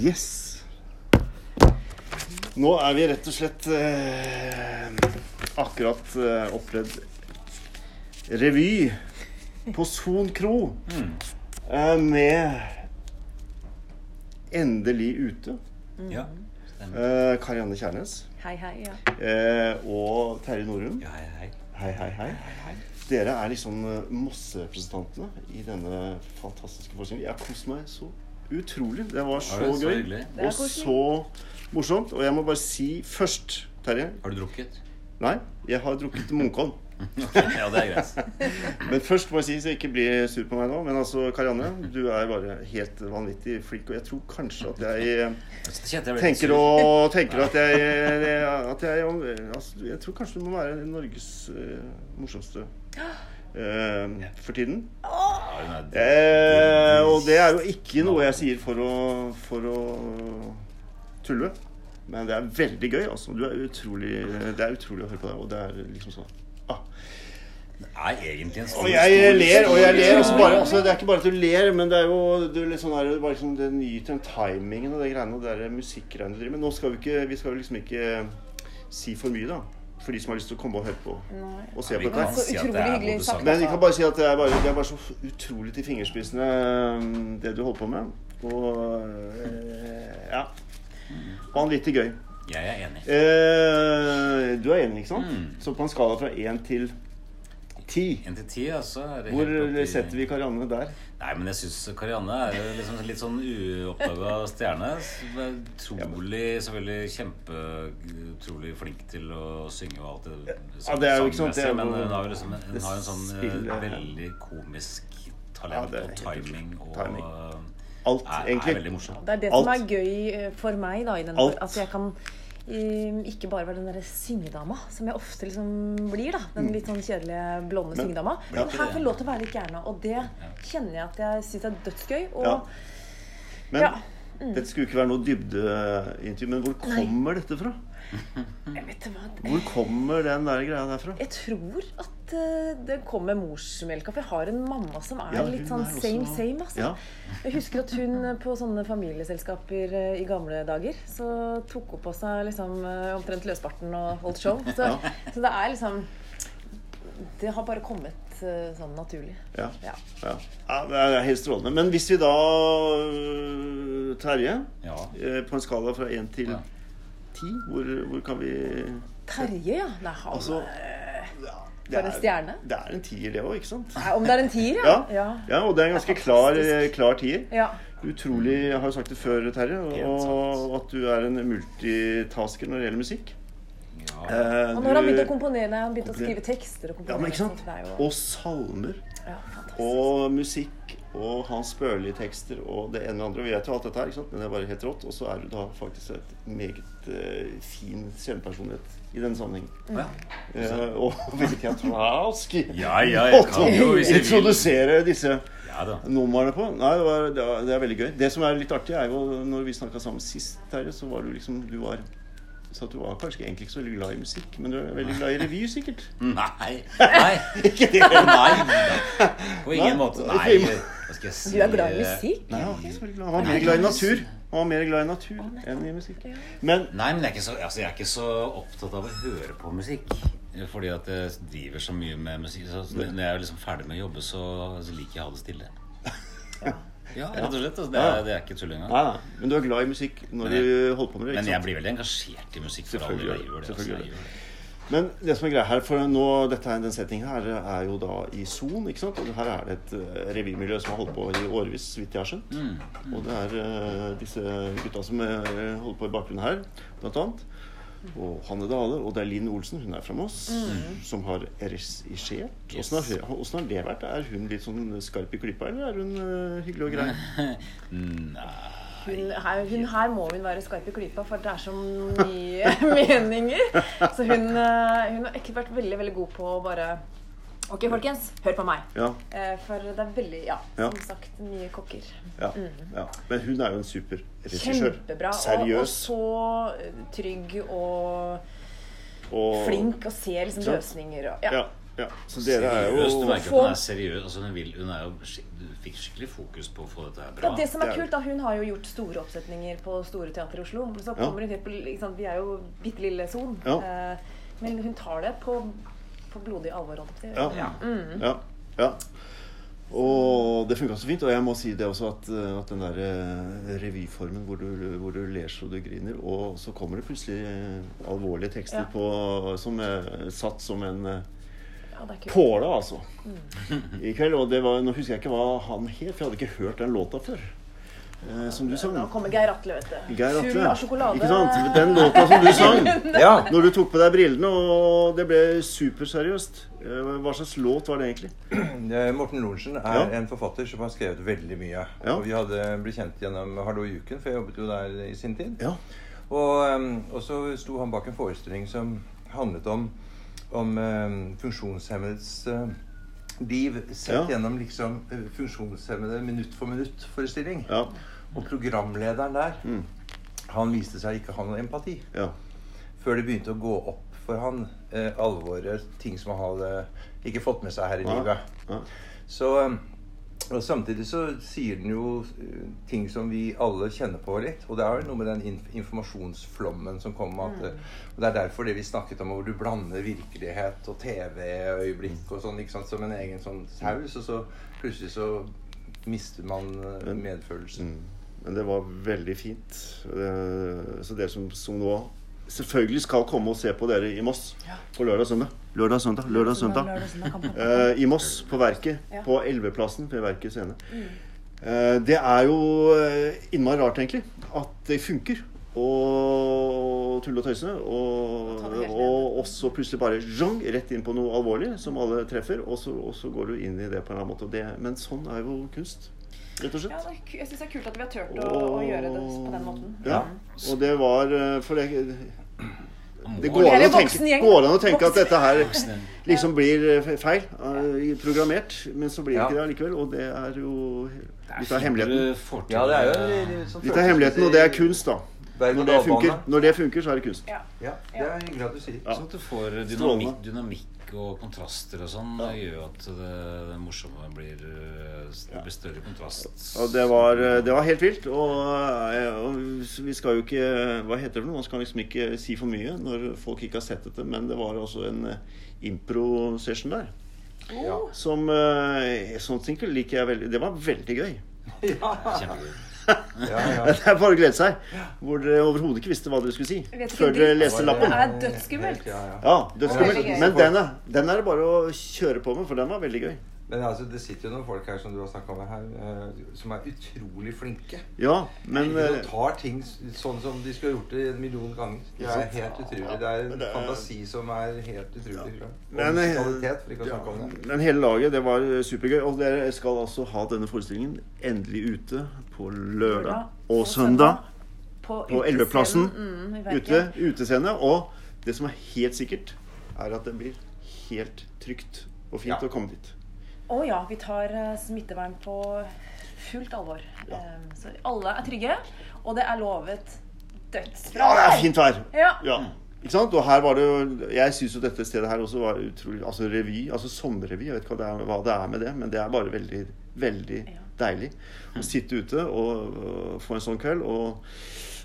Yes. Nå er vi rett og slett eh, akkurat eh, opplevd revy på Son kro Mm. eh, med Endelig ute. Ja. Stemmer. Eh, Karianne Kjærnes Hei, hei. Ja. eh, og Terje Norum. Ja, hei, hei. Hei, hei, hei. hei. Dere er liksom eh, Mosse-representantene i denne fantastiske forestillingen. Jeg har kost meg så utrolig. Det var så det er så gøy hyggelig. Det er og så morsomt. Og jeg må bare si først, Terje Har du drukket? Nei, jeg har drukket Munkholm. ja, det er greit. Men først må jeg si, så ikke bli sur på meg nå, men altså, Karianne, du er bare helt vanvittig flink. Og jeg tror kanskje at jeg eh, Så kjente jeg ble litt tenker sur. og tenker at jeg eh, At jeg eh, altså, Jeg tror kanskje du må være Norges eh, morsomste eh, for tiden. Ja, hun er- Eh, og det er jo ikke noe jeg sier for å, for å tulle. Men det er veldig gøy. Altså. Du er utrolig, det er utrolig å høre på deg. Og det er liksom sånn ah. er egentlig en Og stor jeg ler, og jeg ler. Altså bare, altså, det er ikke bare at du ler, men det er jo du litt sånn der, bare liksom, det nyter den timingen og det greiene og det der musikkgreiene du driver med. Nå skal vi ikke Vi skal jo liksom ikke si for mye, da. For de som har lyst til å komme og høre på Nei. og se Vi på kan dette. Så si at utrolig det er hyggelig både sagt. sanger. Men vi kan bare si at det er bare, det er bare så utrolig til fingerspissene um, det du holder på med. Og eh, ja. Vanvittig gøy. Jeg er enig. Eh, du er enig, ikke sant? Mm. Så på en skala fra én til ti, En til ti, ja, så er det hvor helt opp til- setter vi Karianne der? Nei, men jeg syns Karianne er jo liksom litt sånn uoppdaga stjerne. Som er Utrolig, selvfølgelig kjempeutrolig flink til å synge og alt det Ja, det er jo ikke sant, det er jo- sangmessige, Men hun har jo liksom en, hun det har en sånn eh, spiller- veldig komisk talent Ja, det er og helt timing og Timing. eh, Alt, er, er veldig egentlig. morsom. Det er det som Alt. er gøy eh, for meg da, i den Alt. at jeg kan eh, ikke bare være den der syngedama, som jeg ofte liksom blir. da, Den litt sånn kjedelige, blonde syngedama. Men ikke her det. får jeg lov til å være litt gærna, og det kjenner jeg at jeg syns er dødsgøy. Og Ja. Men Ja. Mm. dette skulle ikke være noe dybdeintervju, men hvor kommer dette fra? jeg vet du hva Hvor kommer den der greia der fra? Jeg tror at eh, det kom med morsmelka, for jeg har en mamma som er Ja, hun litt sånn er også- same same. Altså. Ja. Jeg husker at hun eh, på sånne familieselskaper eh, i gamle dager så tok hun på seg liksom eh, omtrent løsbarten og holdt show. Så, Ja. så det er liksom Det har bare kommet eh, sånn naturlig. Ja. Ja. Ja. ja, det er helt strålende. Men hvis vi da øh, Terje, Ja. eh, på en skala fra 1 til Ja. 10, hvor, hvor kan vi Terje, ja. Nei, han eh, Altså For en stjerne. Det er en tier, det òg, ikke sant? Nei, Om det er en tier, Ja. ja. ja, og det er en ganske klar, øh, klar tier. ja. Utrolig Jeg har jo sagt det før, Terje, og at du er en multitasker når det gjelder musikk. Ja. Eh, Og når han du- begynte å komponere, nei, han begynte å Komponere. skrive tekster og ja, men komponere ikke sant? sånt, det er jo- Og salmer. ja, fantastisk. Og musikk og Hans Børli-tekster og det ene og det andre. Vi vet jo alt dette her, ikke sant? men det er bare helt rått. Og så er du da faktisk et meget eh, fin kjempepersonlighet i denne sammenhengen. Ja. Eh, og hvilken australsk Ja, ja, jeg kan jo, hvis jeg vil. introdusere disse ja da. numrene på. Nei, det, var, det, var, det er veldig gøy. Det som er litt artig, er jo når vi snakka sammen sist, Terje, så var du liksom Du var så at du var kanskje egentlig ikke så veldig glad i musikk, men du er veldig glad i revy, sikkert. Nei. Nei. Nei. På ingen Nei. måte. Nei. Hva skal jeg si? Du er glad i musikk? Nei, han var ikke så veldig glad. Han var mer glad i natur. Han var mer glad i natur enn i musikk. Men Nei, men jeg er, ikke så, altså, jeg er ikke så opptatt av å høre på musikk. Fordi at jeg driver så mye med musikk. Så når jeg er liksom ferdig med å jobbe, så så liker jeg å ha det stille. Ja, rett og slett. Altså, det, er, det er ikke tull engang. Nei, nei. Men du er glad i musikk når Men jeg- du holder på med det. Men Ikke jeg sant? blir veldig engasjert i musikk. For all Selvfølgelig del, gjør jeg du. gjør det. Altså, Selvfølgelig jeg gjør gjør det. Men det som er greia her, for nå, dette er den settingen her er jo da i Son, ikke sant? Og her er det et eh, revymiljø som har holdt på i årevis, så vidt jeg har skjønt. Mm, Og det er eh, disse gutta som eh, holder på i bakgrunnen her, blant annet. Og Hanne Dale, og det er Linn Olsen, hun er fra Moss, som har regissert. Mm. Yes. Åssen har, hvordan har det vært? Er hun litt sånn skarp i klypa, eller er hun eh, hyggelig og grei? Mm. Hun her, hun her må hun være skarp i klypa, for det er så mye meninger. Så hun, eh, hun har ikke vært veldig veldig god på å bare Ok, folkens, hør på meg. Ja. Eh, For det er veldig, ja, Ja. som sagt, mye kokker. Ja, ja. Men hun er jo en super regissør. Mm. Kjempebra. Og, og Seriøs og, så eh, trygg og flink og ser liksom Sant. løsninger og Ja. Ja. Ja, så dere er jo Seriøst, Du merker Få- at hun er seriøs. Altså, hun, vil, hun er jo skik- du fikk skikkelig fokus på å få dette her Ja, bra. det som det er er kult da, Hun har jo gjort store oppsetninger på Store Teater i Oslo. Men så Ja. kommer hun hit på, ikke sant, Vi er jo bitte lille Son. Ja. Eh, men hun tar det på, på blodig alvor. holdt jeg på å si. Ja. Mm. ja, ja. Og det funka så fint. Og jeg må si det også at, eh, at den der eh, revyformen hvor du, hvor du ler så du griner, og så kommer det plutselig eh, alvorlige tekster Ja. på, som er satt som en eh, Ja, det er kult. påle, altså. Mm. I kveld. Og det var, nå husker jeg ikke hva han het, for jeg hadde ikke hørt den låta før. Eh, som du sang. Nå kommer Geir Atle, vet du. Geir Atle. Full av sjokolade. Ikke sant? Den låta som du sang. Ja. Når du tok på deg brillene, og det ble superseriøst. Eh, Hva slags låt var det egentlig? Eh, Morten Lorentzen er Ja. en forfatter som har skrevet veldig mye. Ja. Og vi hadde blitt kjent gjennom Hallo i uken, for jeg jobbet jo der i sin tid. Ja. Og, ehm, og så sto han bak en forestilling som handlet om, om ehm, funksjonshemmedes ehm, liv sett Ja. gjennom liksom eh, funksjonshemmede minutt for minutt-forestilling. Ja. Mm. Og programlederen der, han viste seg ikke ha noe empati ja. før det begynte å gå opp for han eh, alvoret, ting som han hadde ikke fått med seg her i Ja. livet. Ja. Så, eh, og samtidig så sier den jo eh, ting som vi alle kjenner på litt. Og det er jo noe med den inf informasjonsflommen som kom. At, Mm. eh, og det er derfor det vi snakket om, hvor du blander virkelighet og TV-øyeblikk og sånn ikke sant, som en egen sånn saus, og så plutselig så mister man eh, medfølelsen. Mm. Men det var veldig fint. Eh, Så dere som, som nå selvfølgelig skal komme og se på dere i Moss på lørdag og søndag. Lørdag og søndag, lørdag og søndag. Eh, I Moss, på Verket. På Elveplassen ved Verket scene. Mm. Eh, det er jo eh, innmari rart, egentlig, at det funker. Og tulle og tøyse. Og, ta det helt ned. og også plutselig bare zhong, rett inn på noe alvorlig som alle treffer. Og så, og så går du inn i det på en eller annen måte. Og det, men sånn er jo kunst, rett og slett. Ja, det er ku- jeg syns det er kult at vi har turt å, å gjøre det på den måten. Ja. Og det var eh, For det, det Må- går an, Hele å voksen tenke, gjeng. går an å tenke at Voksen. dette her liksom blir eh, feil. eh, Programmert. Men så blir det Ja. ikke det allikevel. Og det er jo Det litt av er hemmeligheten. fint du får til Ja, det er jo det. litt sånn Litt av hemmeligheten, og det er kunst, da. Berg- Når og det funker, dalbane. når det funker så er det kunst. Ja. Ja, det er hyggelig at du sier. Sånn at du får dynamikk, dynamikk og kontraster og sånn. Det gjør jo at det, det morsomme blir eh, Det blir større kontrast. Og det var, eh, det var helt vilt. Og, eh, og vi skal jo ikke Hva heter det for noe? Man skal liksom ikke si for mye når folk ikke har sett dette, men det var altså en eh, impro-session der. Ja. Som eh, Sånt sinkel liker jeg veldig. Det var veldig gøy. eh, Kjempegøy. Ja, ja. Det er bare å glede seg. Hvor dere overhodet ikke visste hva dere skulle si. vet ikke Før en dere dritt. leste lappen. Det er dødsskummelt. Ja, ja. Ja, det skal Veldig gøy. Men den er, den er det bare å kjøre på med, for den var veldig gøy. Men altså, det sitter jo noen folk her som du har snakka med her, eh, som er utrolig flinke. Ja, men De eh, tar ting s- sånn som de skulle ha gjort det en million ganger. Det er helt utrolig. Det er men en det er- fantasi som er helt utrolig. Ja. Men- eh, Og musikalitet, for ikke å snakke om det. men hele laget, det var eh, supergøy. Og dere skal altså ha denne forestillingen endelig ute på lørdag og søndag. På utescenen, Elveplassen. mm, i Verket. Ute, utescene. Og det som er helt sikkert, er at det blir helt trygt og fint Ja. å komme dit. Å ja, vi tar eh, smittevern på fullt alvor. Eh, så alle er trygge, og det er lovet dødsbra. Ja, det er fint vær! Ja. Ja. Ikke sant? Og her var det jo Jeg syns jo dette stedet her også var utrolig Altså revy, altså sommerrevy, jeg vet ikke hva det er, hva det er med det, men det er bare veldig, veldig Ja. deilig å sitte ute og, og få en sånn kveld. Og,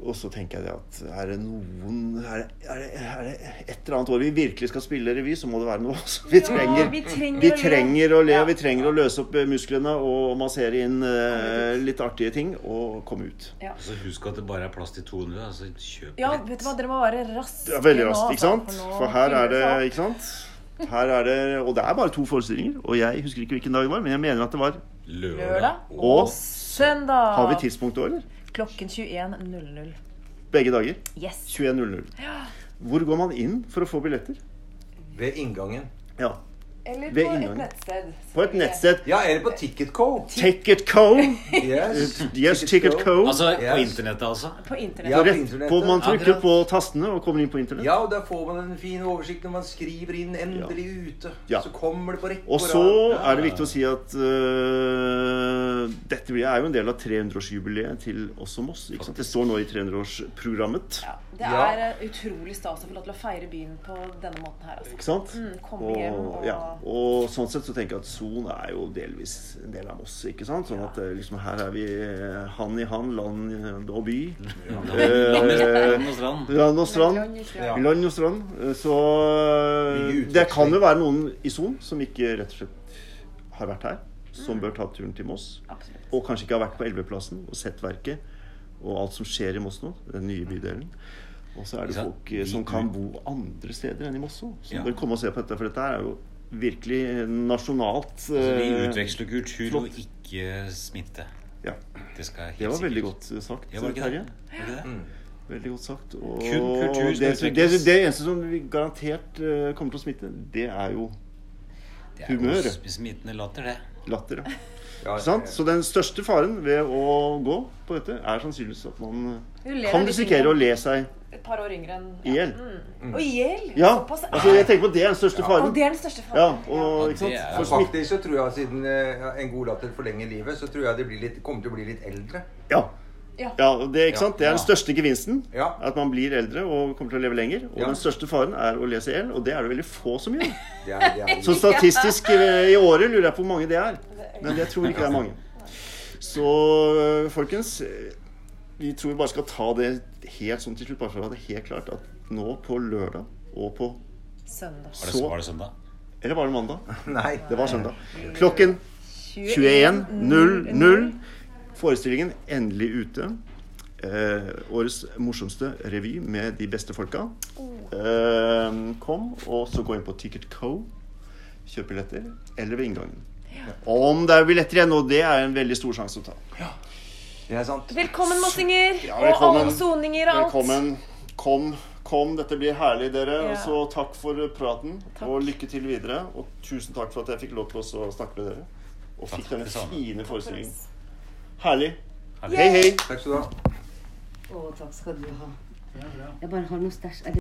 og så tenker jeg det at er det noen er det, er, det, er det et eller annet år vi virkelig skal spille revy, så må det være noe som vi trenger. vi trenger vi å le. trenger å le, Ja. vi trenger å løse opp eh, musklene og massere inn eh, litt artige ting og komme ut. Så Altså, husk at det bare er plass til 200. Altså, kjøp Ja, rett. vet du hva, dere må være raske Ja, veldig nå, raskt, altså, ikke sant? nå For her fyller er det seg opp. Ikke sant? Her er det Og det er bare to forestillinger. Og jeg husker ikke hvilken dag det var, men jeg mener at det var Lørdag. Lørdag Og Og søndag har vi tidspunktet òg, eller? klokken 21.00. Begge dager. Yes. 21.00. Hvor går man inn for å få billetter? Ved inngangen. Ja. Eller Ved på et inngangen. nettsted. På et nettsted. Ja, eller på Ticketco. Ticketco. Yes. Yes, Ticketco. Altså på Yes. internettet, altså? På internett. Ja. på Rett internettet. på, man trykker Akkurat. på tastene og kommer inn på internett. Ja, og der får man en fin oversikt når man skriver inn 'endelig ute'. Ja. Så kommer det på rekke Og og så rad. er det viktig å si at øh, dette blir- er jo en del av 300-årsjubileet til også Moss. Ikke sant? Det står nå i 300-årsprogrammet. Ja, det Ja. er eh, utrolig stas å få lov til å feire byen på denne måten her, altså. Ikke sant? Mm, komme hjem og, og- ja. og sånn sett så tenker jeg at Son er jo delvis en del av Moss. ikke sant? Sånn at eh, liksom, her er vi eh, hand i hand, land eh, og by. Mm. Land og strand. Land og strand. Land, Ja. Land og strand. Eh, Så eh, Mye utveksling. det kan jo være noen i Son som ikke rett og slett har vært her, Mm. som bør ta turen til Moss. Absolutt. Og kanskje ikke har vært på Elveplassen og sett verket og alt som skjer i Moss nå. Den nye bydelen. Og så er det Ikke sant? folk eh, som kan bo andre steder enn i Moss òg. Som Ja. bør komme og se på dette, for dette her er jo virkelig eh, nasjonalt. Så Altså, vi eh, utveksler kultur flott. og ikke smitte. Ja, Det skal jeg helt det var veldig sikkert. godt eh, sagt, Ja, var det ikke Terje. det? Var det ikke det? Veldig godt sagt. Og Kun kultur skal det, det, det, utvikles. eneste som vi garantert eh, kommer til å smitte, det er jo Det er jo Humør. sm- smittende latter, det. latter. da. Ja, Ikke sant? Så den største faren ved å gå på dette, er sannsynligvis at man Du ler kan av de risikere å tingene. le seg Et par år yngre enn i hjel. Mm. Og gjeld! Ja, Såpass er altså jeg tenker på det er den største Og faren. det er den største Ja, faren. og Ja, ikke sant? det er- For Og smitt... faktisk så tror jeg siden eh, en god latter forlenger livet, så tror jeg de blir litt, kommer til å bli litt eldre. Ja. Ja. ja og det, ikke sant? det er den Ja. største gevinsten. Ja. At man blir eldre og kommer til å leve lenger. Og Ja. den største faren er å lese el, og det er det veldig få som gjør. Det er, det er, Så statistisk eh, i i året lurer jeg på hvor mange det er. Men jeg tror ikke det er mange. Så øh, folkens, øh, vi tror vi bare skal ta det helt sånn til slutt, bare for å ha det helt klart at nå på lørdag og på Søndag. Var det, Så- var det søndag? Eller var det mandag? nei, Det var søndag. Klokken 21.00. Forestillingen 'Endelig ute'. Eh, årets morsomste revy med de beste folka. Eh, kom, og så gå inn på Ticket Co. Kjøp billetter. Eller ved inngangen. Om det er billetter igjen, og det er en veldig stor sjanse å ta. det er sant. Velkommen, mossinger! Ja, Og velkommen. alle soninger og alt. Velkommen. Kom. Kom, dette blir herlig, dere. Ja. Og så takk for praten. Takk. Og lykke til videre. Og tusen takk for at jeg fikk lov til å snakke med dere. Og Takk fikk denne det samme. fine forestillingen. oss. Herlig. Herlig. Hei, hei. Takk skal du ha. Å, takk skal du ha. Jeg bare har noe stæsj. Er det-